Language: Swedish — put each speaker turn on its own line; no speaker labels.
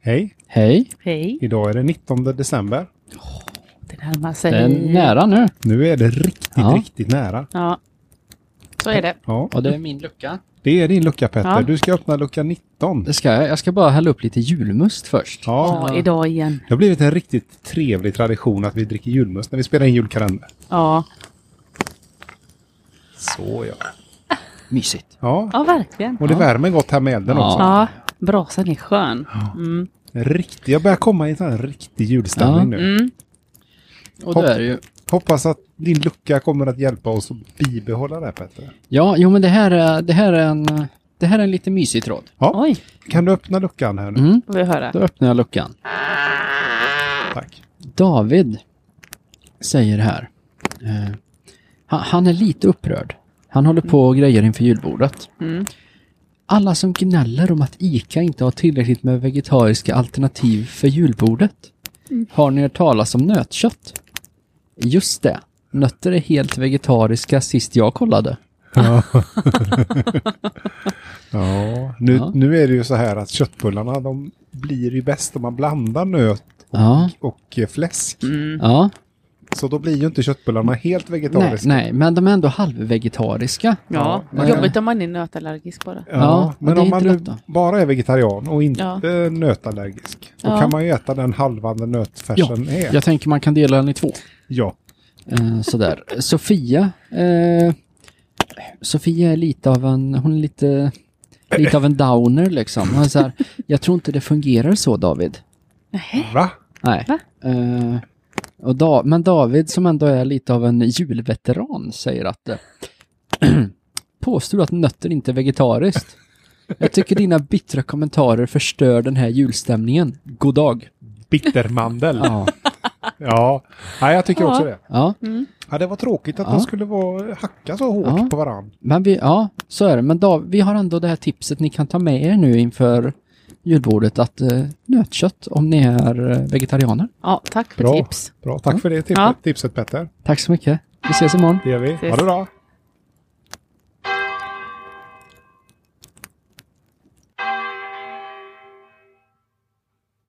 Hej!
Hej,
Hej.
Idag är det 19 december.
Det närmar sig.
det är nära nu.
Nu är det riktigt,
Ja.
riktigt nära.
Ja. Så är det.
Ja,
Och det är min lucka.
det är din lucka Petter.
Ja.
Du ska öppna lucka 19.
Det ska jag. Jag ska bara hälla upp lite julmust först.
Ja,
Ja, idag igen.
det har blivit en riktigt trevlig tradition att vi dricker julmust när vi spelar in julkalender.
Ja,
Så ja.
Mysigt.
Ja,
ja verkligen.
och det värmer gott här med elden
Ja.
också.
Ja, brasan är skön. Mm.
Riktigt, jag börjar komma i en sån här riktig julstämning nu.
Mm.
Och
Hopp.
det är ju...
Hoppas att din lucka kommer att hjälpa oss att bibehålla det här Petter.
Ja, jo men det här är, det här är en... Det här är en lite mysig tråd.
Ja,
Oj,
kan du öppna luckan här nu?
Mm.
får vi höra.
Då öppnar jag luckan.
Tack.
David säger här. Eh, han, han är lite upprörd. Han håller på och grejer inför julbordet.
Mm.
Alla som gnäller om att ICA inte har tillräckligt med vegetariska alternativ för julbordet. Har ni hört talas om nötkött? Just det. Nötter är helt vegetariska sist jag kollade.
Ja, nu,
Ja.
nu är det ju så här att köttbullarna de blir ju bäst om man blandar nöt
Ja,
och eh, fläsk.
ja.
Så då blir ju inte köttbullarna helt
Nej,
vegetariska.
nej, men de är ändå halvvegetariska.
Ja,
Ja.
jobbigt om man är nötallergisk bara.
Ja,
Ja,
men
det är
om man
inte
nu
lätt då.
bara är vegetarian och inte
Ja.
nötallergisk, då
Ja.
kan man ju äta den halvan där nötfärsen är.
Jag tänker man kan dela den i två.
Ja.
Eh, sådär. Sofia. Eh, Sofia är lite av en, hon är lite, lite av en downer liksom. Hon är så här, jag tror inte det fungerar så David.
Va?
Nej.
Va?
Eh, och da, men David som ändå är lite av en julveteran säger att eh, påstår du att nötter inte är vegetariskt? Jag tycker dina bittra kommentarer förstör den här julstämningen. God dag.
Bittermandel. ja.
Ja.
ja, jag tycker också det.
ja.
Ja, det var tråkigt att
Ja.
de skulle vara, hacka så hårt
Ja.
på varandra.
Men vi, ja, så är det. Men Dav, vi har ändå det här tipset ni kan ta med er nu inför julbordet att eh, nötkött om ni är eh, vegetarianer.
Ja, tack för
Bra.
tips.
Bra, tack för det tip
Ja.
tipset Petter.
Tack så mycket. Vi ses imorgon.
Det gör vi.
Ses.
Ha det bra.